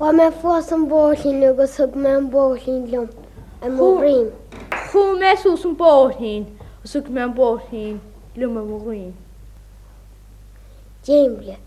ومن فوسن بوشين يقصد من بوشين لهم المغرين Chw mes os yn bod hyn, os yw'n mewn bod hyn, lwm yn mwyn. جيملة